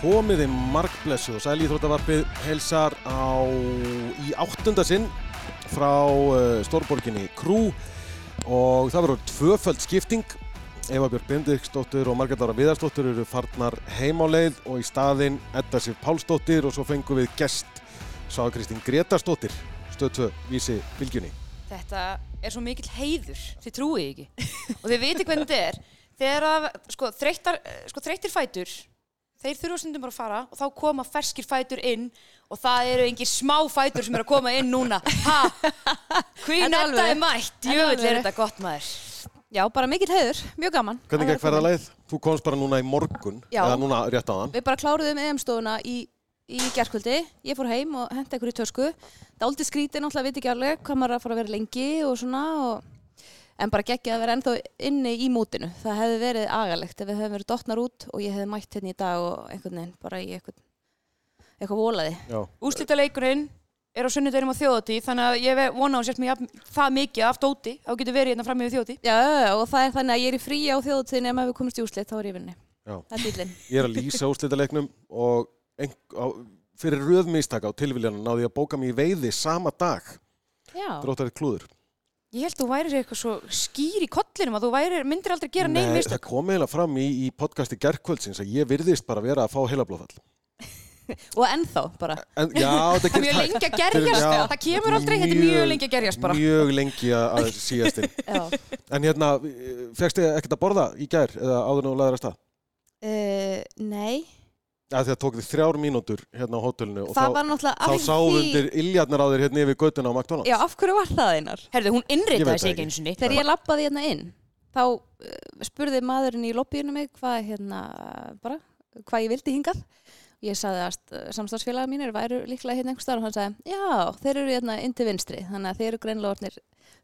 komiði markblessu og sæli íþróttavarpið helsar á í áttunda sinn frá uh, stórborginni Krú og það verður tvöföld skipting Eva Björk Bendiksdóttir og Margrét Ára Viðarsdóttir eru farnar heimáleið og í staðinn Edda Sif Pálsdóttir og svo fengum við gest Sá Kristín Gretarsdóttir stöðtöð vísi bylgjunni þetta er svo mikill heiður þið trúið ekki og þið viti hvernig þetta er þegar að sko, þreyttar, eh, sko, þreyttir fætur þeir þurfa stundum bara að fara og þá koma ferskir fætur inn og það eru engin smá fætur sem eru að koma inn núna ha, En hvín þetta alveg. er mætt En jöfull er alveg. þetta gott maður Já, bara mikill heiður, mjög gaman. Hvernig gekk að vera komin. ferðarleið? Þú komst bara núna í morgun Já. eða núna rétt áðan Við bara kláruðum EM-stofuna í, í gerkvöldi. Ég fór heim og henti einhverju í tösku. Dálítið skrítið náttúrulega, veit ekki alveg hvað maður er að fara að vera lengi og svona. Og... En bara geggið að vera ennþá inni í mótinu. Það hefði verið agalegt ef við hefðum verið dotnar út og ég hefði mætt hérna í dag og einhvern veginn bara í eitthvað, eitthvað volaði. Já. úrslitaleikurinn er á sunnudeginum á þjóðatíð þannig að ég ve- vona að hún sért mér jafn- það mikið af dóti þá getur verið hérna fram í þjóðatíð Já, já, já, og það er þannig að ég er í frí á þjóðutíðin ef við komumst í úslit, þá er ég í vinni. Já. Það er dýlinn. Ég er að lýsa úrslitaleiknum og ein, á, fyrir röðmistaka á tilvíljanum náði ég að bóka mig í veiði sama dag Já. dróttarið klúður. ég held þú værir eitthvað svo skýr í kollinum að þú værir, myndir aldrei gera nein mistök það kom eiginlega fram í, í podcasti gerkvöldsins að ég virðist bara vera að fá heilablóðfall. Og ennþá bara. En, já, það Það er gerist mjög hægt. lengi að Þetta er- gerjast, sko. já, það kemur aldrei, þetta er mjög lengi að gerjast bara. Mjög lengi að- að síðastinn. Já. En hérna, fegst þið ekkert að borða í gær eða áður nú laður að stað? Uh, nei, Ja, því að tók þið þrjár mínútur hérna á hótelinu og það þá, var náttúrulega þá af sáum því- undir iljarnar á þér hérna yfir göttuna á McDonalds. Já, af hverju var það einar? Herðu, Ég hún veit innritaði það sig ekki ekki. eins og niður. Þegar ég lappaði hérna inn, þá uh, spurði maðurinn í lobbyinu mig hvað, hérna, bara, hvað ég vildi hingað. Ég sagði að samstagsfélaga mínir væru líklega hérna einhvers staðar og hann sagði, já, þeir eru hérna inn til vinstri, þannig að þeir eru greinlega orðnir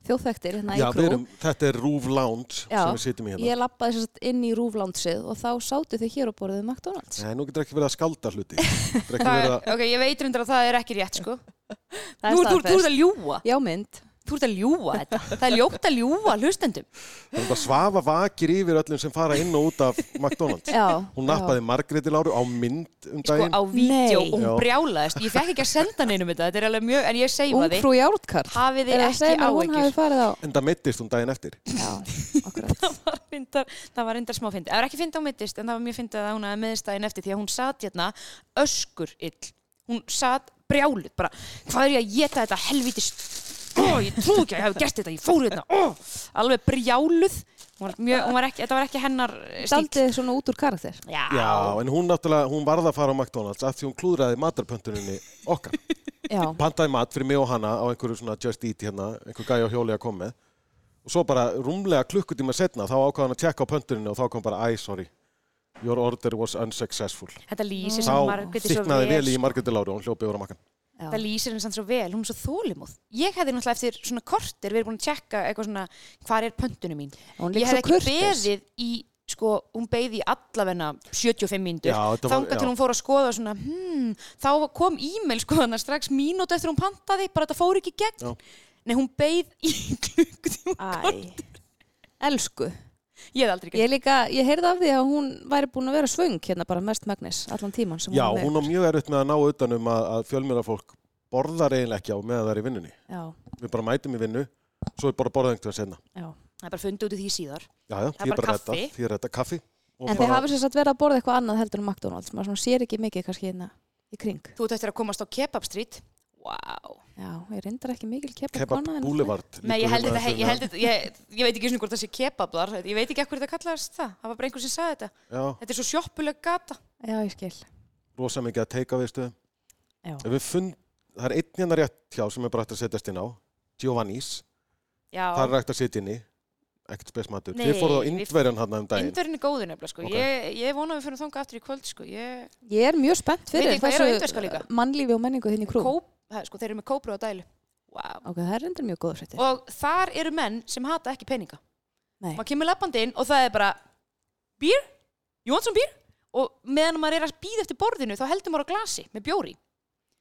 þjóðþektir hérna Já, við í krú. erum, þetta er Rúf Lounge Já, sem við sitjum í hérna. Ég lappaði sem sagt inn í rúflándsið og þá sátu þau hér og borðuðu McDonalds. Nei, nú getur ekki verið að skalda hluti. Getur ekki Það, verið að... ok, ég veit reyndar að það er ekki rétt, sko. Það er Nú, þú, þú ert staðfest. að ljúa. Já, mynd. Þú ert að ljúa þetta. Það er ljótt að ljúa hlustendum. Sko, Það er bara svafa vakir yfir öllum sem fara inn og út af McDonalds. Já. Hún nappaði Margréti Láru á mynd um Sko, daginn. á vídeo, Nei. og hún Já. brjálaðist. Ég fekk ekki að senda neinum þetta, þetta er alveg mjög, en ég segi Ung maður þið. frú Járkarl. Hafið þið Er að ekki segja mér að Hún hafi áhyggjur. farið á... En það mittist hún daginn eftir. Já, akkurat. Það var reyndar, það var reyndar smá fyndið. Það var ekki fyndið á mittist, en það var mjög fyndið að hún hafi meðstæðin eftir því að hún satt hérna öskur ill. Hún satt brjáluð, bara, hvað er ég að geta þetta helvítist? Ó, ég trú ekki að ég hef gert þetta, ég fór hérna, ó, alveg brjáluð. Hún var mjög, hún var ekki, þetta var ekki hennar eh, stíll. Daldið svona út úr karakter. Já. Já, en hún náttúrulega, hún varð að fara á McDonalds af því hún klúðraði matarpöntuninni okkar. Já, Pantaði mat fyrir mig og hana á einhverju svona Just Eat hérna, einhver gæja á hjóli að koma með. Og svo bara rúmlega klukkutíma setna þá ákvað hann að tjekka á pöntuninu og þá kom bara, æ, sorry, your order was unsuccessful. Þetta lýsir sem Þá Margréti svo þyknaði vel. vel í Margréti Láru og hún hljópi yfir á makkan. já. Þetta lýsir henni samt svo vel, hún er svo þólimóð. Ég hefði náttúrulega eftir svona kortir verið búin að tjekka eitthvað svona, hvað er pöntunum mín? Hún Ég líka hefði svo ekki kurtis. beðið í, sko, hún beðið í allavegna 75 Já, mínútur. þetta var- Þangað já. til hún fór að skoða svona, hmm, þá kom e-mail sko hana strax mínútu eftir hún pantaði, bara þetta fór ekki í gegn. Já. Nei, hún beið í klukkutíma. Æ, elsku. Ég hefði aldrei gert. Ég líka, ég heyrði af því að hún væri búin að vera svöng hérna bara mest Magnus, allan tíman sem Já, hún var hún á mjög erfitt með að ná utanum að, að fjölmjörafólk borðar eiginlega ekki á meðan það er í vinnunni. Já, Við bara mætum í vinnu, svo er bara borðað einhvern senna. já. Það er bara fundið út í því síðar. Já, já, því Það er er bara bara þetta, kaffi. því er þetta kaffi. og En þið bara- hafið sér satt verið að borða eitthvað annað heldur en McDonalds, maður svona sér ekki mikið kannski hérna í kring. Þú ert eftir að komast á Kebab Street. Wow. Já, ég reyndar ekki mikil kebab Kebab kona. en- Boulevard. Nei, ég held lítur þetta, hérna ég, held svona- þetta ég, ég veit ekki einu sinni hvort það sé kebablar ég veit ekki ekkur þetta kallaðast það það var bara einhver sem sagði þetta Já, þetta er svo sjoppuleg gata Já, ég skil. rosa mikið að teika við stöðum. Já. Ef Við fund, það er einn hérna rétt hjá sem er bara hægt að setjast inn á, Giovanni's, það já, er hægt að setja inn í, ekkert spesmatur. Nei, Við fórum á við- Indverjan hann um daginn. indverðin er góður nefnilega sko. Ok. ég, ég vona að við fyrir þanga aftur í kvöld sko. ég, Ég er mjög spennt Veit fyrir ég hvað er á indverska líka? mannlífi og menningu hérna í krú. kó, ha, sko, þeir eru með kóbru á dælu wow. Ok, það er reyndar mjög góður fréttir. og þar eru menn sem hata ekki peninga Nei. maður kemur lappandi inn og það er bara beer, you want some beer og meðan maður er að býða eftir borðinu þá heldur maður á glasi með bjóri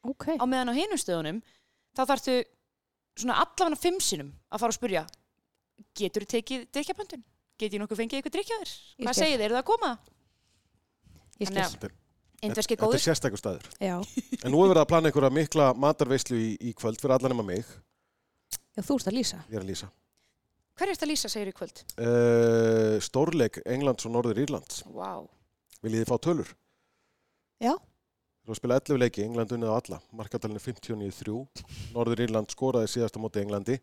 Ok. á meðan á hinum stöðunum þá þarftu svona allafan að fimm sinum að fara og spurja getur þú tekið drikkjapöntun? Get ég nokkuð fengið eitthvað drikkjaður? Ég Hvað um skil. segir þeir? Eru það að koma? Ég Þannig að- skil. Þetta er Indverski Þetta er góður. sérstakur staður. Já. En nú er verið að plana einhverja mikla matarveislu í, í kvöld fyrir allan nema mig. Já, þú ert að lýsa. Ég er að lýsa. Hverju ertu að lýsa segir í kvöld? Uh, stórleik Englands og Norður Írlands. Vá. Wow. Viljið þið fá tölur? Já. Þú spila 11 leiki, England unnið á alla. Markatalinn er 59-3. Norður Írland skoraði síðast á móti Englandi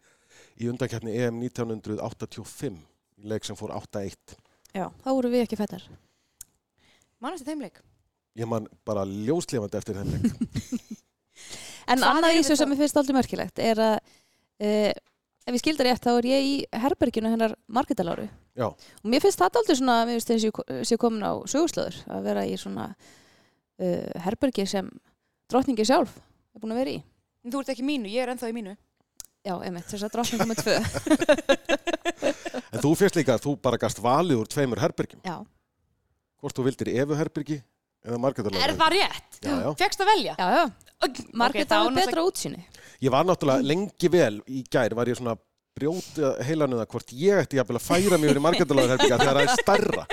í undankeppni EM 1985 í leik sem fór 8-1. Já. Þá voru við ekki fættar. Mann eftir þeimleik. Ég man bara ljóslefandi eftir þeim leik. En Hvað annað eru í þessu þá? sem mér finnst aldrei merkilegt er að uh, ef ég skildar rétt þá er ég í herberginu hennar margitaláru Já, og mér finnst það aldrei svona, mér finnst þess að ég sé komin á sögurslöður að vera í svona uh, herbergi sem drottningi sjálf er búin að vera í. En Þú ert ekki í mínu, ég er ennþá í mínu. Já, einmitt, þess að drottningi með tvö. en þú fyrst líka að þú bara gast valið úr tveimur herbergjum. Já, Hvort þú vildir Evu herbergi eða Markatalinn. Er það rétt? Já, já. Fegst að velja? já, já. Ok, Margitaláru okay, betra útsýni. Ég var náttúrulega lengi vel í gær var ég svona að brjóta heilanuða hvort ég ætti jafnvel að færa mig yfir í margændalagarherbygga þegar það er stærra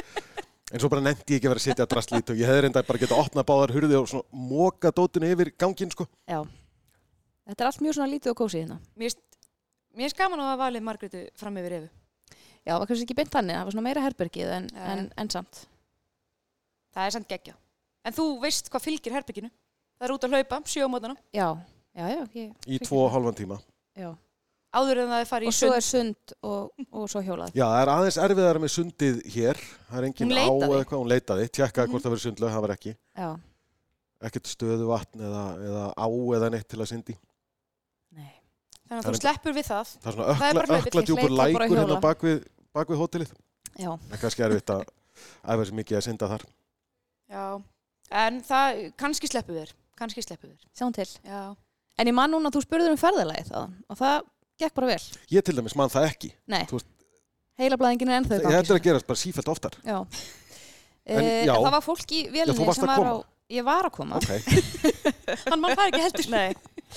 en svo bara nefndi ég ekki að vera að setja drastlít og ég hefði reynda bara geta opnað báðar hurði og svona móka dótinu yfir gangin sko Já. Þetta er allt mjög svona lítið og kósið hérna. Mér finnst- mér finnst gaman að hafa valið Margrétu fram yfir Efu. Já, var kannski ekki beint þannig, það var svona meira herbergið en, Já, já. en, en samt. Það er samt geggja. En þú veist hvað fylgir herbygginu. Það er út að hlaupa, sjö á mótana, Já, já, já. Ég, í tvo og halvan tíma já. áður en það er farið Og í svo sund. er sund og, og svo hjólað. Já, það er aðeins erfiðar með sundið hér það er engin Hún á leitaði. Mhm. eða eitthvað, hún leitaði tjekkaði hvort það verið sundlega, það var ekki Já. ekkert stöðu vatn eða, eða á eða neitt til að syndi Nei. Þannig Það að er- þú sleppur við það. Það er svona Það er ökla, bara hlaupið, ökla ég djúpur hleypa bara lækur hérna hjóla. á bak við, bak við hótelið Já, Það er kannski erfitt að æfa sér mikið að synda þar Já. En það, kannski sleppur við þér. Kannski sleppur við þér. sjáum til. Já. En ég man núna að þú spurður um ferðalagið þaðan og það gekk bara vel. Ég til dæmis man það ekki Nei, Þú veist- heilablaðingin er ennþá í gangi. Þetta er að gerast bara sífælt oftar. Já. En En, já. Það var fólk í Já, þú vélinni varst sem að var á... koma. Ég var að koma. Ok. Hann mann fari ekki heldur. Nei.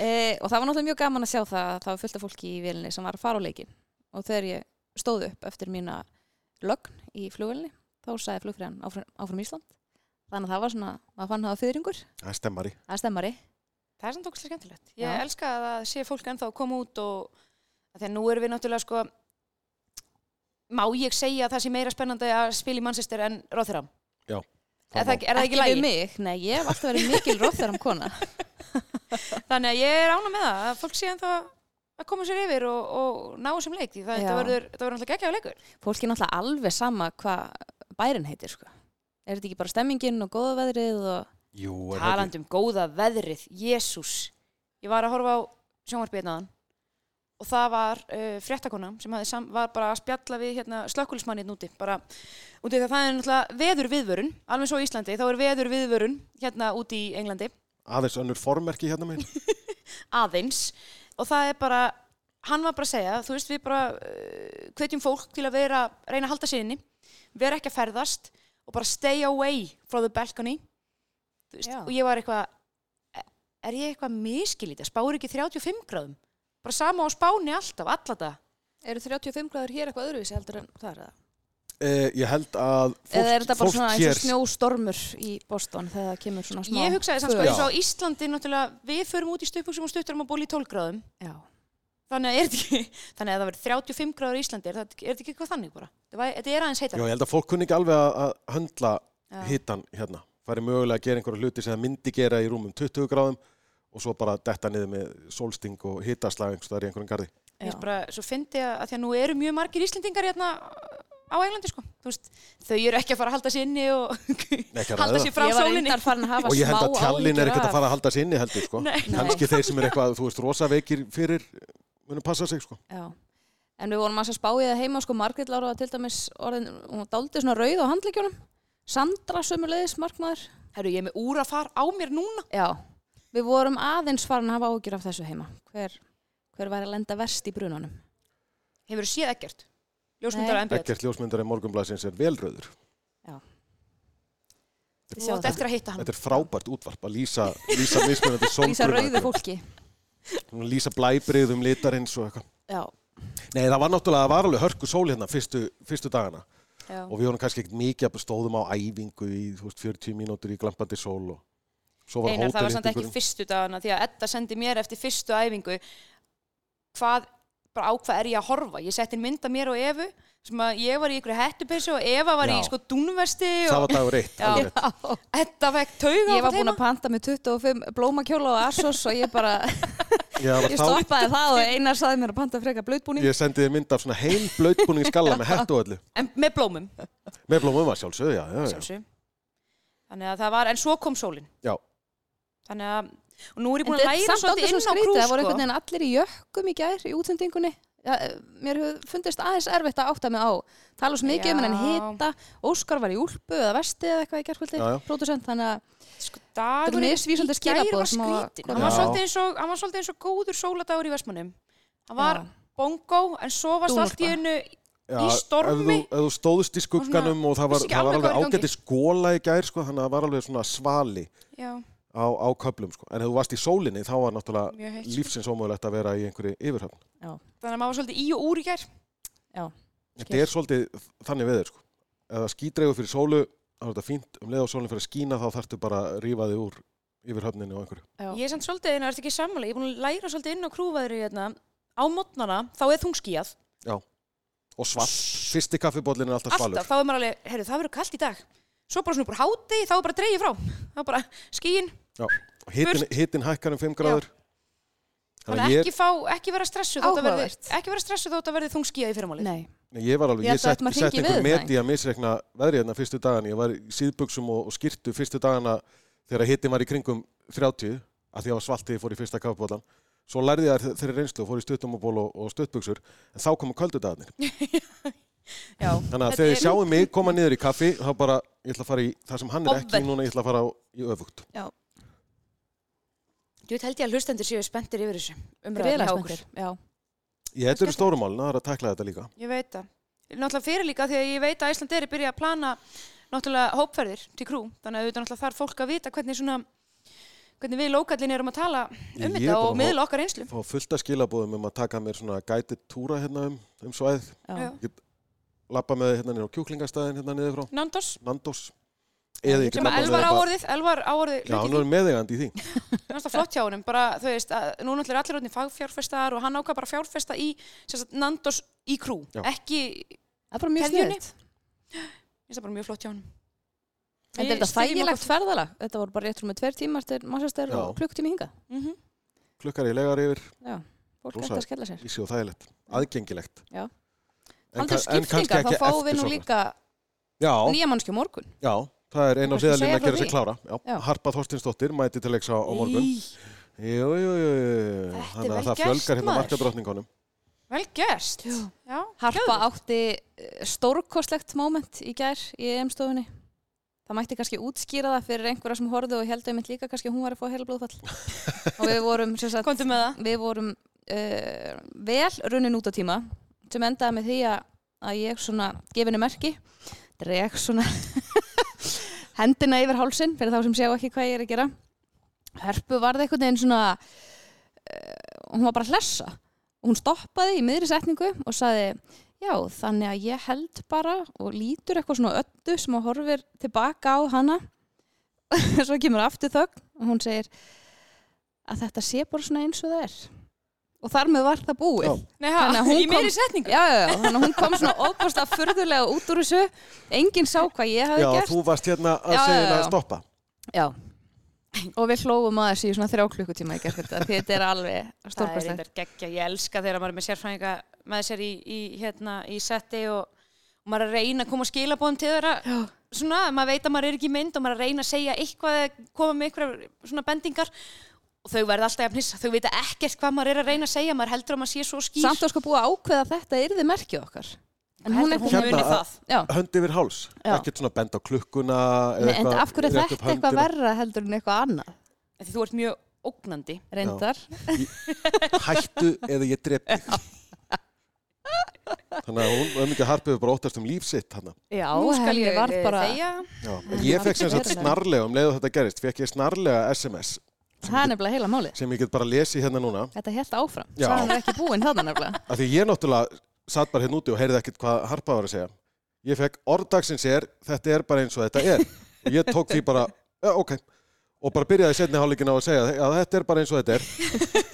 E, og það var náttúrulega mjög gaman að sjá það að það var fullt af fólki í vélinni sem var að fara á leikin. Og þegar ég stóð upp eftir mína lögn í flugvélinni, þá sagði flugfræðan áfram, áfram Ísland. Þannig að það var svona, maður fann hafa fyrringur, Það er stemmari. það er stemmari. Það er samt okkur skemmtilegt. Ég Já. elska að það sé fólk ennþá að koma út og að því að nú erum við náttúrulega sko má ég segja að það sé meira spennandi að spila í Manchester en Róþiram? Er það, Það ekki- er það ekki við lægi? mig, nei, ég hef alltaf verið mikil róþur um kona. Þannig að ég er ána með það að fólk sé ennþá að koma sér yfir og, og ná þessum leik því það Já. þetta verður, þetta verður alltaf geggjaðu leikur. Fólki er náttúrulega alveg sama hvað bærin heitir, sko. Er þetta ekki bara stemmingin og góða veðrið og... Jú, er það ekki. Talandi um góða veðrið, Jésús. Ég var að horfa á sjónvarpið náðan og það var uh, fréttakona sem hafði sam, var bara að spjalla við hérna, slökkulismann hérna úti. Bara, úti það, það er náttúrulega veður viðvörun, alveg svo í Íslandi, þá er veður viðvörun hérna úti í Englandi, Aðeins önnur formerki hérna meginn. aðeins. Og það er bara, hann var bara að segja, þú veist við bara uh, hvetjum fólk til að vera, reyna að halda sér inni, vera ekki að ferðast og bara stay away from the balcony. Þú veist, Já. og ég var eitthvað "E, er ég eitthvað miskilítið, spáur ekki 35 gráðum bara sama á spáni alltaf, allata Eru 35 gráður hér eitthvað öðruvísi heldur en það er það? Eh, ég held að fólk, Eða er þetta bara fólk svona eins hér, og snjóstormur í Boston þegar það kemur svona smá... ég hugsaði samt sko föl? eins og á Íslandi náttúrulega, við förum út í stuppuksum og stutturum að bóla í 12 gráðum Já. þannig að, er þetta ekki, þannig að það verður 35 gráður í Íslandi er þetta, er þetta ekki eitthvað þannig bara þetta var- þetta er aðeins Já, heitar ég held að fólk kunni ekki alveg að- að höndla Já. hittan hérna. Færi mögulega að gera einhverja hluti sem það myndi gera í rúmum 20 gráðum og svo bara detta niður með solsting og hittaslag einhvers staðar í einhverjum garði. Mér finnst bara, svo fyndi að, að því að nú eru mjög margir Íslendingar hérna á Englandi sko Þú veist, þau eru ekki að fara að halda sér inni og Nei, ekki að halda ræða. sér frá ég var sólinni reyndar farin að hafa Og ég held að smá tjallin er áhyggjur ekkert að af- fara að halda sér inni heldur, sko. Nei. Nei. Kanski þeir sem er eitthvað, þú veist, rosa veikir fyrir munum passa sig, sko. Já. En við vorum aðeins að spá í það heima, sko, Margrét Lára var til dæmis orðin, hún daldi svona rauð á handleikjunum. Sandra sömulegis, markmaður. Herru, ég er með úr að fara á mér núna Já. Við vorum aðeins farin að hafa ágjur af þessu heima. Hver, hver var að lenda verst í brunanum? Hefur séð ekkert Ljósmyndar Nei. að MBL Ekkert ljósmyndari morgunblæsins er velröður. Við Þú sjáum átt það. eftir að hitta hann Þetta er frábært útvarp að lýsa, lýsa mismunandi sólbrunum. Lýsa rauðu fólki. Lýsa blæbriðum litarins og eitthvað. Já. Nei, það var náttúrulega, það var alveg hörku sól hérna fyrstu, fyrstu dagana. já. og við vorum kannski ekkert mikið að stóðum á æfingu í þú veist, 40 mínútur í glampandi sól og svo var Einar, það var samt ekki hótelindingur. fyrstu dagana því að Edda sendi mér eftir fyrstu æfingu hvað, bara á hvað er ég að horfa ég setti mynda mér og Evu sem að ég var í ykkur hettupessu og Eva var í Já. sko dúnvesti það og var dagur eitt Já. alveg rétt. Edda fekk tauga Ég var búin að panta með 25 blómakjóla og assos og ég bara, Já, það ég var þá, stoppaði það og Einar saði mér að panta freka blöðbúning. ég sendi þið mynd af svona heil blöðbúning skalla með hett og öllu en með blómum með blómum að sjálfsögðu, já, já, já. sjálfsögum. þannig að það var, en svo kom sólin Já. þannig að, og nú er ég En búin að þetta er læra samt svolítið aldrei inn svo á skrítið, krú það voru sko. einhvern veginn allir í jökkum í gær í útsendingunni. Ja, eh, mér hefur fundist aðeins erfitt að átta mig á tala svo mikið um Já. henni hita, Óskar var í úlpu eða vesti eða eitthvað í gerðkvöldi, Já, já. pródusent, þannig að sko, Þetta dagurinn er misvísandi í gær skilaboð var sem hafa skrítinn. hann komið. var Já. svolítið eins og, hann var svolítið eins og góður sóladagur í Vestmannum hann var Já. bongo en svo varst allt í Dúnúlpa. einu Já, Í ef stormi? þú, ef þú stóðist í skugganum og það var, vissi ekki það var alveg hvað alveg var í gangi. ágæti skóla í gær sko, þannig að það var alveg svona svali já, á, á köplum sko. en ef þú varst í sólinni þá var Mjög náttúrulega heitt, sko. lífsins ómögulegt að vera í einhverju yfirhafn þannig að maður var svolítið í og úr í gær þetta er svolítið þannig veður sko. ef það skýdreigur fyrir sólu þá er þetta fínt, um leið á sólinn fyrir að skína þá þarftu bara að rífa þig úr yfirhafninu og einhverju Já. ég er samt svolítið, en það er ekki sammála ég er búin að læra svolítið inn á krúvaðri hérna. á mótnana, þá er þungskíjað og svart, fyrsti kaffibóllin er alltaf svalur alltaf, þá er maður alveg, heyrðu, það verður kallt í dag svo bara svona upp úr háti, þá er bara dreigið frá þá er bara skíin, hitin, hitin hækkar um 5 gráður þannig að ekki, fá, ekki vera stressu þótt að verði, Áhugavert. ekki ekki vera stressu þótt að verði þungskíjað í fyrirmáli Nei, Nei, ég var alveg, Ég ég, held að sett, þetta maður sett hringi í einhver met veðurfræðing. í að misreikna veðrið hérna fyrstu dagana. Ég var í síðbuksum og, og skýrtu fyrstu dagana þegar hittin var í kringum 30, að því að var svalt þegar ég fór í fyrsta kaffbólan. Svo lærði ég þær- þeirri reynslu og fór í stuttumaból og, og stuttbuksur, en þá komu köldu dagarnir. Já. Þannig að Þetta þegar er- ég sjáum mig koma niður í kaffi, þá bara, ég ætla að fara í það sem hann er ekki Ofvent. núna, ég ætla að fara á- í öfugt. Þú veit held ég að hlustendur séu spenntir yfir þessu umræðan greiðlega hjá spenntir. okkur. Já. Ég, þetta eru stórumálina, það er að tækla þetta líka. Ég veit það. Náttúrulega fyrir líka því að ég veit að Ísland er að byrja að plana náttúrulega hópferðir til krú. Þannig að auðvitað náttúrulega þarf fólk að vita hvernig svona hvernig við lókallin erum að tala um Ég er þetta bara og að miðla okkar einslu. Fá fullt að skilabóðum um að taka mér svona guided túra hérna um, um svæð, Já. lappa með þig hérna niður á kjúklingastæðin hérna niður frá. Nandos, Nandos eða ég get sem að labbað með elvar bara- áorðið, elvar áorðið Já, hann hluti er meðegandi í því því, náttúrulega flott hjá honum, bara þú veist, að, nú náttúrulega er allir orðin fagfjárfestaðar og hann ákvað bara að fjárfesta í sem sagt, Nandos í krú, Já. ekki, Það er bara mjög Keðjunni. sniðugt. ég finnst það bara mjög flott hjá honum. En Við þetta er styðjum þægilegt ferðalag. Þetta voru bara rétt rúmið tver tímar til Manchester Já. og klukkutími hingað. okkur- Mhm. klukkar í legar yfir, Já, fólk Rosa. ætti að skella sér. ísi og þægilegt aðgengilegt Já. En Aldrei ka- en kannski skiptingar, ekki þá fáum við nú eftirsóknarvert. líka Já, nýja mannskju morgun. já, það er einn á Kannski hliðalínu segja að frá gera sig því. klára já. Já. Harpa Þorstinsdóttir mæti til leiks á, á morgun Í, Jú, jú, jú, jú. Þetta er Þannig að vel það gert, fjölgar hérna maður. markadrottningunum Vel gerst. Já. Já, Harpa geðveikt. átti eh, stórkostlegt moment í gær í EM-stofunni. Það mætti kannski útskýra það fyrir einhverja sem horfðu og heldur einmitt líka kannski að hún var að fá heilablóðfall. og við vorum, sem sagt, Komdu með það. við vorum uh, vel runnin út á tíma sem endaði með því að, að ég svona gefinu merki dreg svona hendina yfir hálsin fyrir þá sem sjá ekki hvað ég er að gera Hörpu varð einhvern veginn svona uh, hún var bara að hlessa og hún stoppaði í miðri setningu og saði já þannig að ég held bara og lítur eitthvað svona á öddu sem að horfir tilbaka á hana svo kemur aftur þögn og hún segir að þetta sé bara svona eins og það er og þar með var það búið Já. já. Nei, ha, Þannig að hún í meiri kom- setningu. Já, já, þannig að hún kom svona óbústa furðulega út úr þessu enginn sá hvað ég hafi Já, gert þú varst hérna að Já, já, segja hérna já. að stoppa Já og við hlófum að þessu í svona þrjá klukkutíma í gerð þetta því þetta er alveg Það er stórkostlega reyndar geggja, ég elska þegar maður er með sérfræðinga með sér í, í, hérna, í setti og, og maður er að reyna að koma skilabóðum til þeirra svona, maður veit að maður er ekki í mynd og maður er að reyna að segja eitthvað eða koma með eitthvað svona bendingar og þau verða alltaf jafn hissa, þau vita ekkert hvað maður er að reyna að segja, maður heldur að maður sé svo skýr samt að sko búið að ákveða að þetta yrði merkið okkar en Heldur hún hún er Hérna, muni að- það já, Hönd yfir háls, Já. ekkert svona bend á klukkuna eða Nei, en af hverju er rétta upp þetta eitthvað höndina. verra heldur en eitthvað annað Því þú ert mjög ógnandi reyndar hættu eða ég drep þig þannig að hún ömmingi harpið bara óttast um líf sitt hana. já, Nú skal henni ég eh, var bara þegja Já, en ég fekk sem sagt snarlega um leiðu þetta gerist, fekk ég snarlega SMS það er nefnilega heila málið sem ég get bara lesið hérna núna þetta held áfram, Já. það er ekki búin þarna nefnilega af því ég náttúrulega satt bara hérna úti og heyrði ekkert hvað harpað var að segja ég fekk orðdagsins er, þetta er bara eins og þetta er og ég tók því bara, ja, ok og bara byrjaði setni hálfleikin á að segja að þetta er bara eins og þetta er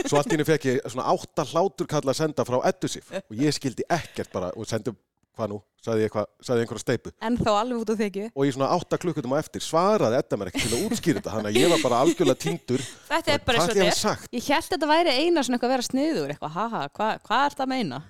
svo allt í henni fekk ég svona átta hlátur kalla að senda frá Edusif og ég skildi ekkert bara og sendi, hvað nú, sagði ég, eitthvað, sagði ég einhverja steipu En þá alveg út á þykju. og í svona átta klukkutum á eftir svaraði Edda mér ekki til að útskýra þetta þannig að ég var bara algjörlega tindur Þetta er bara eins og Hvað ætli ég þetta hafi sagt? Ég held þetta væri eina svona eitthvað að vera sniður, eitthvað, haha, hvað hva er þetta að meina?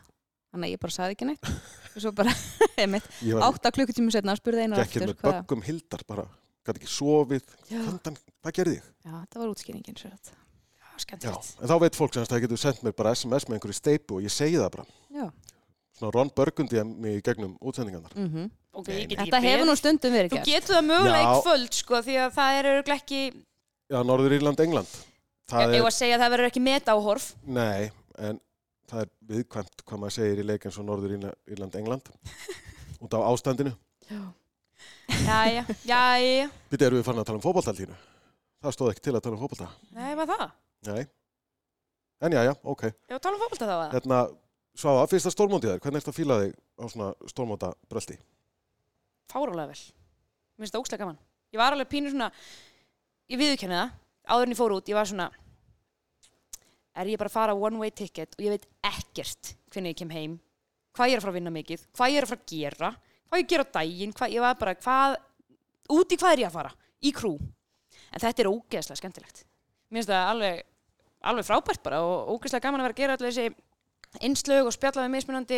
Þannig að ég bara saði ekki neitt. Og svo bara, einmitt, Ég var átta klukkutími setna og spurði einar gekkir Hérna hérna aftur. sko, með böggum hildar bara, gæti ekki sofið Já. Handan, hvað gerði ég? Já, þetta var útskýringin svo þetta. Já, Já, skemmtilegt. en þá veit fólk sem sagt að það getur sendt mér bara SMS með einhverju steipu og ég segi það bara Já. svona Ron Burgundy að mig í gegnum útsendingarnar Mm Ok, ég get ekki Þetta hefur beðið. nú stundum verið Þú gert. getur það mögulega í Já. kvöld sko því að það er örgulega ekki ég Já, Norður Írland, England Það var er, að segja að það verður ekki metáhorf nei, en það er viðkvæmt hvað maður segir í leik eins og Norður Írla- Írland, England út á ástandinu Jæja, jæja Býtti erum við farin að tala um fótballtaldínu Það stóð ekki til að tala um fótballta Nei, var það? Nei, en já, já, ok Ég var að tala um fólkta þá að það Hérna, Svafa, fyrsta stórmóndið þér Hvernig ertu að fíla þig á svona stórmónda bröldi? Fárulega vel Mér finnst það ókslega gaman Ég var alveg pínu svona Ég viðurkenni það Áður en ég fór út, ég var svona Er ég bara að fara one way ticket og ég veit ekkert hvernig ég kem heim Hvað ég er að fara að vinna mikið Hvað ég er að fara að gera Hvað ég gera á daginn hvað, Ég var bara, hvað Út í hvað er ég að fara? Í krú En þetta er ógeðslega skemmtilegt Mér finnst það alveg, alveg frábært bara og ógeðslega gaman að vera að gera allir þessi innslög og spjalla við mismunandi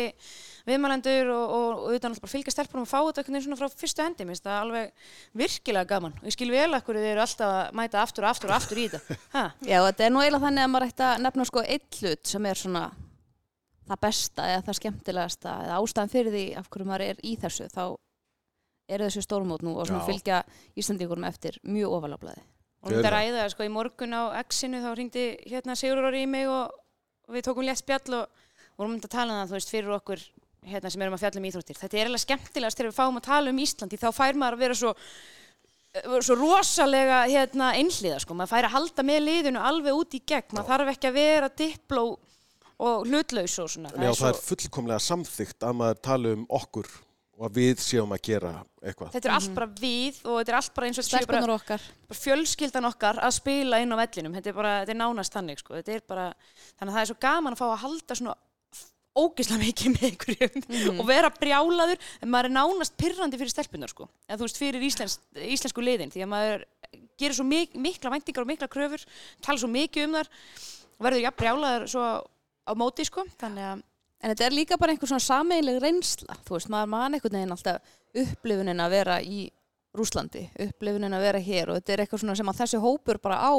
viðmælendur og, og, og auðvitað náttúrulega bara fylgja stelpunum og fá þetta einhvern veginn svona frá fyrstu hendi mér finnst það alveg virkilega gaman og ég skil vel að hverju þið eru alltaf að mæta aftur og aftur og aftur í þetta ha, Já, þetta er nú eiginlega þannig að maður ætti að nefna sko eitt hlut sem er svona það besta eða það skemmtilegasta eða ástæðan fyrir því af hverju maður er í þessu þá eru þessu stórmót nú og svona Já. fylgja Íslandíkurum eftir mjög ofalablaði. og við Gjörðu þetta það. ræða sko í morgun á X-inu þá ringdi hérna Sigur Ári í mig og, og við tókum létt spjall og vorum myndið að tala um það þú veist fyrir okkur hérna sem erum að fjalla um íþróttir þetta er eiginlega skemmtilegast þegar við fáum að tala um Íslandi þá fær maður að vera svo eh, svo rosalega hérna, einhliða sko. maður fær að halda með liðinu alveg út í gegn maður þarf ekki að vera dipló og hlutlaus og svona Já, svo, það er fullkomlega samþygt að maður tala um okkur og að við séum að gera eitthvað. þetta er allt bara við og þetta er allt bara eins og þetta séu bara, Stelpunar okkar. bara fjölskyldan okkar að spila inn á vellinum þetta er bara, þetta er nánast þannig sko. þetta er bara, þannig að það er svo gaman að fá að halda svona ógislega mikið með einhverjum Mhm. og vera brjálaður en maður er nánast pirrandi fyrir stelpunar sko. eða þú veist fyrir íslens, íslensku liðin því að maður gerir svo mik mikla væntingar og mikla kröfur, tala svo mikið um þar og verður jafn brjálaður svo á móti sko. þannig að En þetta er líka bara einhver svona sameiginleg reynsla. Þú veist, maður man einhvern veginn alltaf upplifunin að vera í Rúslandi, upplifunin að vera hér og þetta er eitthvað svona sem að þessi hópur bara á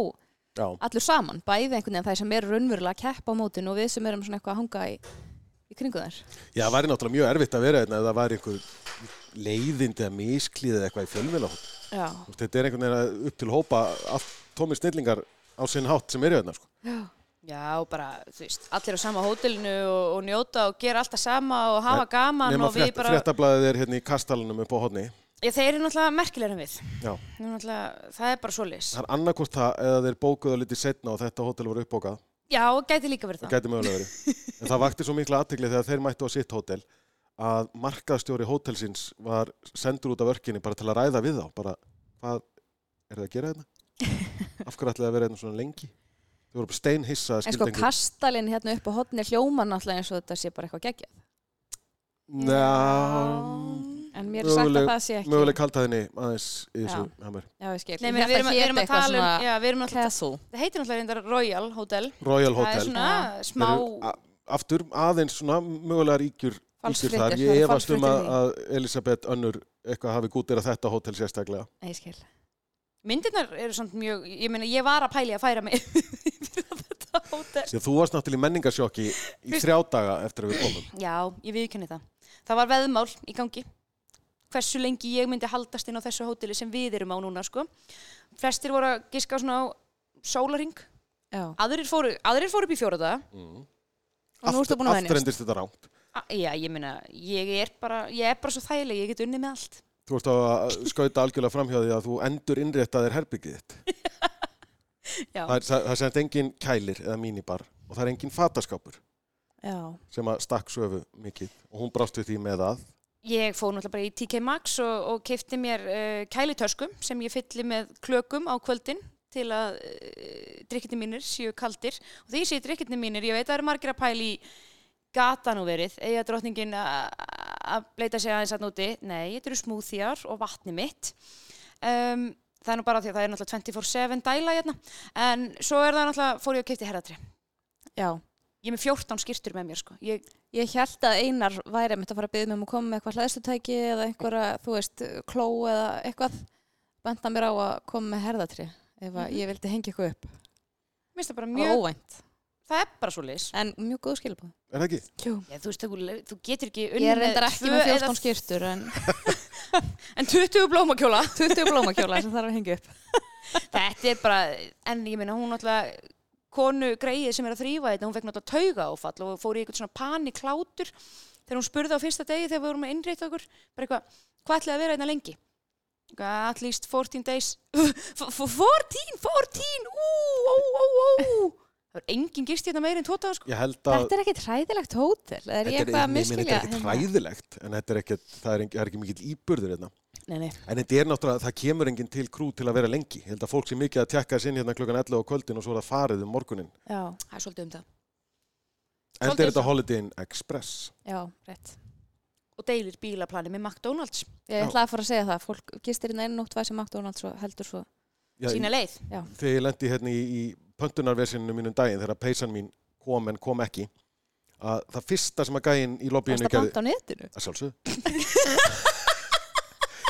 Já, allur saman, bæði einhvern veginn það sem er raunverulega að keppa á mótinu og við sem erum svona eitthvað að hanga í, í kringu þær. Já, það væri náttúrulega mjög erfitt að vera þetta ef það væri einhver leiðindi eða misklíð eða eitthvað í fjölmjöla. Já. Þetta er einhvern veginn að upp til hópa allt tómi snillingar á sinn hátt sem eru þetta, sko. Já. Já, bara, þú veist, allir á sama hótelinu og, og njóta og gera alltaf sama og hafa gaman Nefn og að við frétt, bara... fréttablaðið er hérna í kastalunum upp á hodni. Já, þeir eru náttúrulega merkilegri en við. Já, Þeir eru Náttúrulega, það er bara svoleiðis. það er annarkvort það eða þeir bókuðu að litið setna og þetta hótel voru uppbókað. Já, gæti líka verið Það það. gæti mögulega verið. En það vakti svo mikla aðtegli þegar þeir mættu á sitt hótel að markaðstjóri hótelsins var sendur út af örkinni bara til að ræða við þá. Bara, hvað er það að gera hérna? Af hverju ætlaði að vera hérna svona lengi? Þau voru bara steinhissa að En sko skildengu. kastalinn hérna upp á hotni hljóma náttúrulega eins og þetta sé bara eitthvað geggjað. Ná, En mér er sagt Möguleg- að það sé ekki. mögulega kalta henni aðeins í þessu hjá mér. Já, ég skil. Nei, menn, við erum, við erum að tala um, já, við erum náttúrulega, Castle. það heitir náttúrulega reyndar Royal Hotel. Royal Það er Hotel. svona smá, Þeir eru a- Aftur aðeins svona mögulega ríkjur, ríkjur Falsfréttir, þar. það Ég eru efast um að, falsfréttir í. að Elisabeth önnur eitthvað hafi gútir að þetta hótel sérstaklega. Nei, ég skil. myndirnar eru samt mjög, ég meina, ég var að pæli að færa mig fyrir þetta hótel. Því að þú varst náttúrulega í menningarsjokki í þrjá daga eftir að við komum. Já, ég viðkenni það. Það var veðmál í gangi. Hversu lengi ég myndi haldast inn á þessu hóteli sem við erum á núna, sko. Flestir voru að giska svona á sólaring. Já. Aðrir fóru, aðrir fóru upp í fjóraða. Og nú ertu búin að Aftur venjast. endist þetta rámt. Já, ég meina, ég er bara, ég er bara svo þægileg, ég get unnið með allt. Þú vorst að skauta algjörlega framhjáði að þú endur innréttaðir herbyggið þitt. Já, Það er, það, það er semt engin kælir eða mínibar og það er engin fataskápur Já. sem að stakk söfu mikið og hún brást við því með að ég fór náttúrulega bara í TK Maxx og, og keipti mér uh, kælitöskum sem ég fylli með klökum á kvöldin til að uh, drikkirni mínir séu kaldir og þegar ég sé drikkirni mínir, ég veit að það eru margir að pæli í gata nú verið, eiga drottningin að- að bleita sig aðeins að núti nei, þetta eru smúþjar og vatni mitt um, það er nú bara því að það er náttúrulega 24-7 dæla hérna en svo er það náttúrulega, fór ég að keipti herratri Já. ég er með 14 skýrtur með mér sko ég, Ég held að Einar væri mitt að fara að byggja mig um að koma með eitthvað hlæðslutæki eða einhverja, þú veist, kló eða eitthvað. Benda mér á að koma með herðatri ef að Mhm. ég vildi hengja eitthvað upp. mér finnst það bara Mjög mjög, óvænt. það er bara svo leis En mjög góð skilabóð. Er það ekki? Jú. Já, þú veist, þú, þú getur ekki Ég unnið er reyndar ekki tvö með eða- 14 skýrtur en En 20 blómakjóla 20 blómakjóla sem þarf að hengja upp. Þetta er bara, en ég meina hún náttúrulega konu greið sem er að þrýfa þetta hún fekk náttúrulega tauga áfall og fór í eitthvað svona paniklátur þegar hún spurði á fyrsta degi þegar við vorum að innrétta okkur bara eitthvað, hvað ætlaði að vera hérna lengi? Eitthvað, At least 14 days F- f- 14, 14, ú, ó, ó, ó Það var engin gist hérna meir en tótaðan sko Ég held að Þetta er ekkit hræðilegt hótel. Er ég eitthvað nei, ég að meina, miskilja? þetta er ekkert hérna? hræðilegt en þetta er ekkert, það er, ekki, það er ekki mikill íburður hérna. Nei, nei, en þetta er náttúrulega, það kemur enginn til krú til að vera lengi, ég held að fólk sé mikið að tjekka sinn hérna klukkan 11 á kvöldin og svo er það farið um morgunin, Já, það er svolítið um en þetta það Svolítið er þetta svo. Holiday Inn Express já, rétt. og deilir bílaplani með McDonalds Ég Já. ætlaði að fara að segja það. Fólk gistir inn einu nótt væsi McDonalds og heldur svo. Já, sína í, leið þegar ég lendi hérna í, í pöntunarversinu mínum um daginn þegar peysan mín kom en kom ekki að það fyrsta sem að gæinn í Varst lobbyinu að panta á netinu? að sjálfsögðu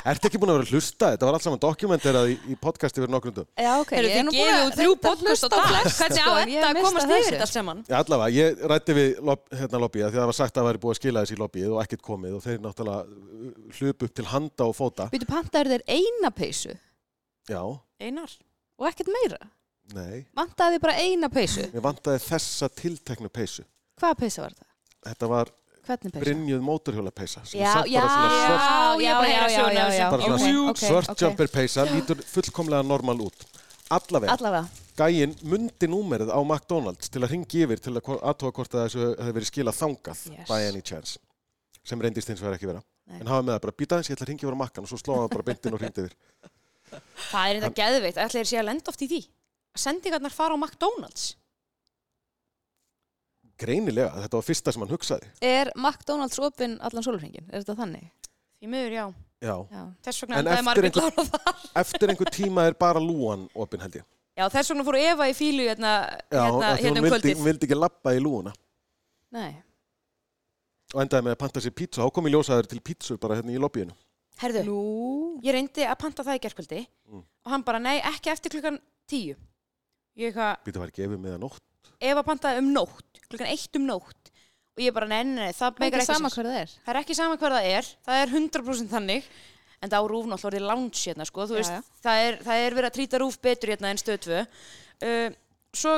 Ertu ekki búin að vera að hlusta? Þetta var allt saman dokumenterað í, í podcasti fyrir nokkrum dögum. Já, ok. Eru Ég er þið nú búin gefið að út þrjú reynda að podcast á hlusta dag? flest, Hvernig á sko, en ég þetta að mista komast yfir þessu. þetta saman? Já, allavega, ég rætti við lob, hérna lobbyið af því að það var sagt að það væri búið að skila þessi í lobbyið og ekkert komið og þeir náttúrulega uh, hlupu upp til handa og fóta. Býtu pantaður þeir eina peysu Já, Einar og ekkert meira. nei, Vantaði þið bara eina peysu. mér vantaði þessa tilteknu peysu. Hvaða peysa var það? Þetta var Hvernig peysa? Brynjuð mótorhjóla peysa sem er Já, samt já, bara svona svört, já, já, já, já, já, já. bara svona Ok, ok, svört ok. jumper peysa, lítur fullkomlega normal út. Allavega, Allavega. gæinn mundi númerið á McDonalds til að ringi yfir til að ko- athuga hvort að þessu hefði verið skilað þangað Yes. by any chance sem reyndist eins og verið ekki vera Nei. en hafa með það bara býta aðeins, ég ætla að ringi yfir á makkan og svo slóða hann bara beintin og ringdi yfir Það er þetta geðveikt, ætla þér sé að lenda oft í því að sendingarnar fara á McDonalds greinilega, þetta var fyrsta sem hann hugsaði Er McDonalds opinn allan sólurhingin? Er þetta þannig? Því miður, já, Já. Já. þess vegna En endaði eftir Margrét einhver- Lára þar eftir einhver tíma er bara lúan opinn held ég Já, þess vegna fór Eva í fílu hérna, Já, hérna, af því hérna hún um vildi, kvöldið hún vildi ekki lappa í lúuna Nei. og endaði með að panta sér pizza, þá kom í ljósaður til pizza bara hérna í lobbyinu Herðu, Nú. ég reyndi að panta það í gerkvöldi Mm. og hann bara, nei, ekki eftir klukkan tíu Ég eitthvað, býta var ekki yfir með að nótt Eva pantaði um nótt klukkan eitt um nótt og ég bara, nei, nei, nei, það Það er meikar ekki ekki sama sens. hvað það er. Það er ekki sama hver það er, það er 100% þannig en það á rúf náttúrulega orðið lounge hérna sko, þú Já, veist, já. Það, er, það er verið að trýta rúf betur hérna en stöð 2 uh, Svo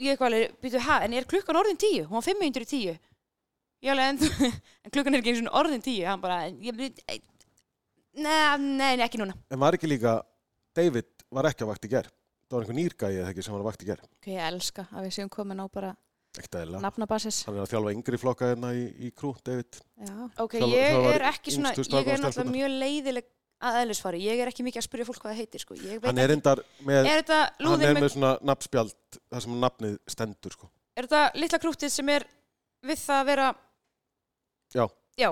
ég eitthvað alveg, býtu, hæ, en er klukkan orðin 10? Hún var 5 minnur í 10 Ég alveg, en, þú- en klukkan er ekki eins og orðin 10 hann bara, ég, nei, nei, nei, ekki núna en var ekki líka, David var ekki að vakt í ger það var einhver nýrgæði eða ekki sem var að vakt í ger Ok, ég elska að við séum komin á bara ekkert eðlilega nafnabasis. Hann er að þjálfa yngri flokka hérna í, í krú, David. Já. Ok, Þjálfar- ég þjálfari er ekki svona, yngstu ég er strákanna og náttúrulega stelpurnar. mjög leiðileg að eðlisfari, ég er ekki mikið að spyrja fólk hvað það heitir sko, ég veit Hann er endar með, Er þetta hann er lúðin með, með, svona nafnspjald, þar sem nafnið stendur, sko. er þetta litla krútið sem er við það að vera Já, Já,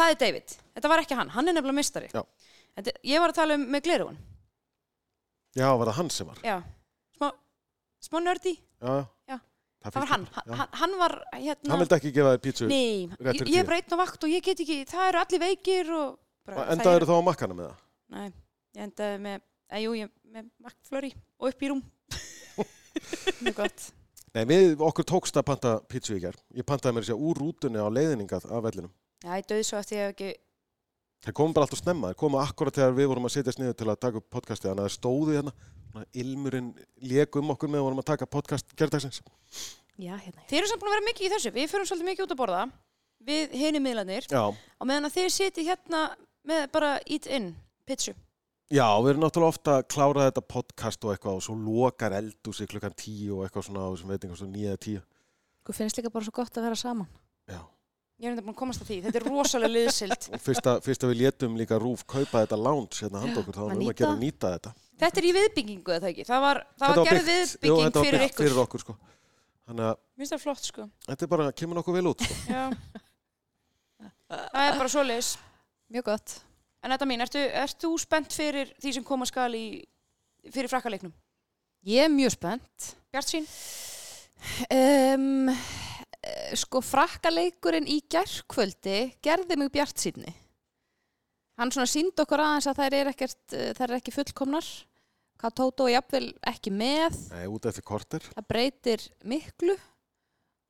það er David. Þetta var ekki hann. Hann er nefnilega mistari. Já. Þetta, ég var að tala um með glerun. já, var það hann sem var. Já. Smá, smá nördi. Já, já. Já. fylgir Það var hann. mér. Já. Hann, hann var hérna... Hann vildi ekki gefa þér pítsu. Nei, rétt ég, fyrir ég tíu. er bara einn á vakt og ég get ekki... Það eru allir veikir og... Bara, það Endaður þá á makkana með það. Nei, ég endaði með... Að jú, ég með vaktflöri og upp í rúm. Mjög gott. Nei, við, okkur tókst að panta pítsu í ger. Ég pantaði mér sér úr rútunni á leiðningað af vellinum. Já, ég döði svo eftir ég hef ekki... Þeir komum bara alltaf snemma. Þeir komu akkurat þegar við vorum að setjast niður til að taka upp podcastið. Þannig að þeir stóðu hérna. Svona Ilmurinn lék um okkur með að vorum að taka podcast gerðdagsins. Já, hérna. Þið eru samt búin að vera mikið í þessu. Við förum svolítið mikið út að borða. Við hinni miðlanir. Já, Og meðan að þið sitið hérna með bara eat in, pitsu. Já, við erum náttúrulega ofta að klára þetta podcast og eitthvað og svo lokar eldúsi klukkan tíu og eitthvað svona á þessum veitingum svo nýja eða tíu. Þú finnst líka bara svo gott að vera saman. Já. Ég er enda búin að komast að því. Þetta er rosalega liðsild. og fyrst að, fyrst að við létum líka Rúf kaupa þetta lounge hérna handa okkur þá að var um að nýta. gera að nýta þetta þetta er í viðbyggingu, eða ekki? Það var, það var gerð jú, viðbygging þetta var fyrir byggt ykkur. fyrir okkur sko. þannig að Mér finnst það flott, sko. þetta er bara, kemur nokkuð vel út sko. Já. það er bara svoleiðis. Mjög gott. En þetta mín, ertu, ert þú spennt fyrir því sem koma skal í, fyrir frakkaleiknum? Ég er mjög spennt. Bjart sín? Um, eh, sko frakkaleikurinn í gærkvöldi gerði mig bjart síðni. Hann svona síndi okkur aðeins að þær er, ekkert, eh, þær er ekki fullkomnar. Katóto er jafnvel ekki með. Nei, út eftir korter Það breytir miklu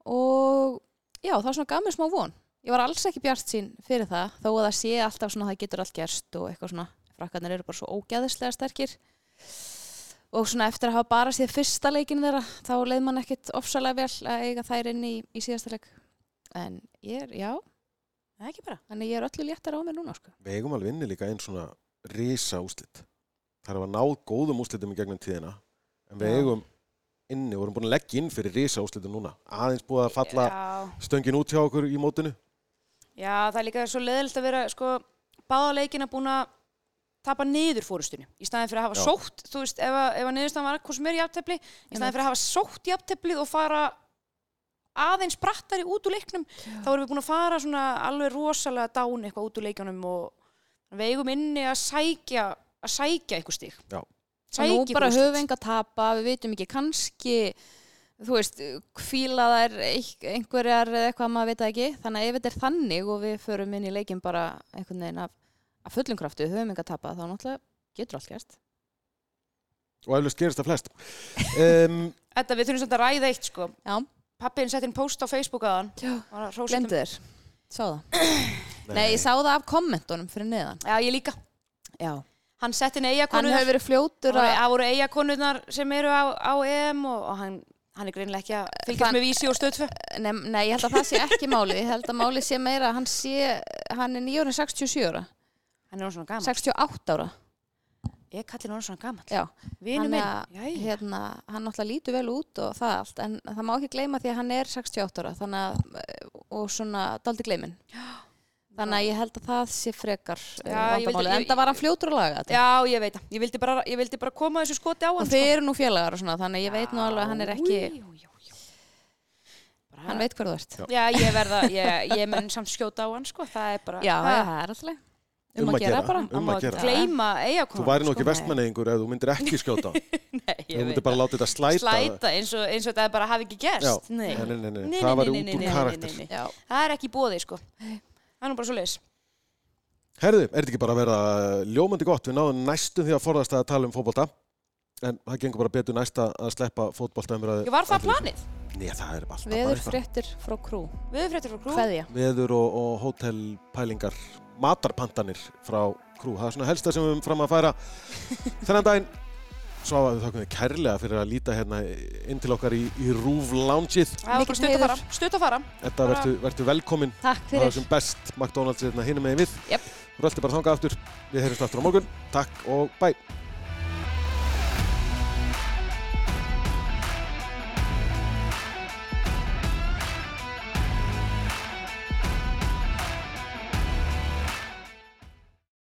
og já, það svona gaf mér smá von. Ég var alls ekki bjart sín fyrir það þó að það sé alltaf svona að það getur allt gerst og eitthvað svona. Frakkarnir eru bara svo ógæðislega sterkir og svona eftir að hafa bara séð fyrsta leikin þeirra þá leið mann ekkit ofsalega vel að eiga þær inn í, í síðasta leik. En ég er, já, Nei, ekki bara. þannig ég er öllu léttar á mér núna sko. við eigum alveg inni líka einn svona risa úslit það er að náð góðum úslitum í gegnum tíðina en við Já. eigum inni, vorum búin að leggja inn fyrir risa úslitum núna aðeins búið að falla Já. stöngin út hjá okkur í mótinu Já, það er líka svo leðilt að vera sko, báða leikina búin að tapa niður fórustunni í staðin fyrir að hafa Já. sótt, þú veist, ef að, ef að niðurstaðan var hvort sem er jafntefli, í staðin Einmitt. fyrir að hafa sótt jafnteflið og fara aðeins brattari út úr leiknum þá erum við búin að fara svona alveg rosalega dán eitthvað út úr leikjunum og við eigum inni að sækja að sækja eitthvað stig Já. Og nú Sækja ykkur bara úrslit. höfum við enga að tapa, við vitum ekki kannski, þú veist, kvíla þær eik- einhverjar eða eitthvað maður veit það ekki. Þannig að ef þetta er þannig og við förum inn í leikin bara einhvern veginn af, af fullum kraftu, við höfum enga að tapa, þá náttúrulega getur allt gerst. og eflust gerist það flest um, Edda, við þurfum svolítið að ræða eitt sko Já, pappin sett inn post á Facebook aðan já. Var að hrósa um- glemdu öllum. þér. Sá það. Nei. ég sá það af kommentunum fyrir neðan. Já, ég líka Já. Hann sett inn Hann eigakonur hefur verið Það fljótur voru- að... það voru eigakonurnar sem eru á, á EM og, og hann, hann er greinilega ekki að fylgjast Þann- með vísi og stöðtfö. Nei, nei, ég held að það sé ekki málið. Ég held að málið sé meira að hann sé, hann er nýjórinn 67 ára, Hann er orðinn svona gammal. 68 ára. Ég kalli hann orðinn svona gammal. Já. Vinu Hann minn. að- Jæja. hérna, hann náttúrulega lítur vel út og það allt, en það má ekki gleyma því að hann er 68 ára, þannig að eh, og svona daldi gleymin þannig að ég held að það sé frekar eh, Já, ég vandamálið, vildi- en það var hann fljótur að laga þetta Já, ég veit það. Ég vildi bara, ég vildi bara koma þessu skoti á hann. sko. og þeir eru nú félagar og svona, þannig að ég veit nú alveg að hann er ekki, Jú, jú, jú. Bara, hann veit hver þú ert Já. Já, ég verða, ég, ég mun samt skjóta á hann, sko. Það er bara... já, það það er alltaf um að gera bara um að gera. Gleima eigakonur. Þú væri nú ekki sko. vestmanneðingur ef þú myndir ekki skjóta Nei, Þú ég myndir veit bara láta þetta það. slæta Slæta eins og, eins og þetta bara hafi ekki Já, gerst. nei, nei, Nei. nei, nei, Nei, það var nei, út nei, nei, úr nei, nei, karakter nei, nei. já, Það er ekki bóðið, sko. Það er nú bara svo Herðu, er þetta ekki bara að vera ljómandi gott Við náðum næstum því að forðast að tala um fótbolta En það gengur bara betur næsta að sleppa fótbolta Ég var það planið. Nei, það er alltaf bara veður eitthvað fréttir frá krú Veðurfréttir frá Krú. hverja, Veður og, og hótelpælingar Matarpantanir frá krú Það er svona helsta sem við höfum fram að færa Þennan daginn Svo að við þakkum þið kærlega fyrir að líta hérna inn til okkar í, í Rúf Loungeið. Það var bara Mikill stutt að heiður. fara, stutt að fara. Þetta Bara- verður verður velkomin takk Það var fyrir sem best McDonalds hérna hinum megin við. Jep. Rölti bara þangað aftur. Við heyrjumst aftur á morgun. Takk og bæ.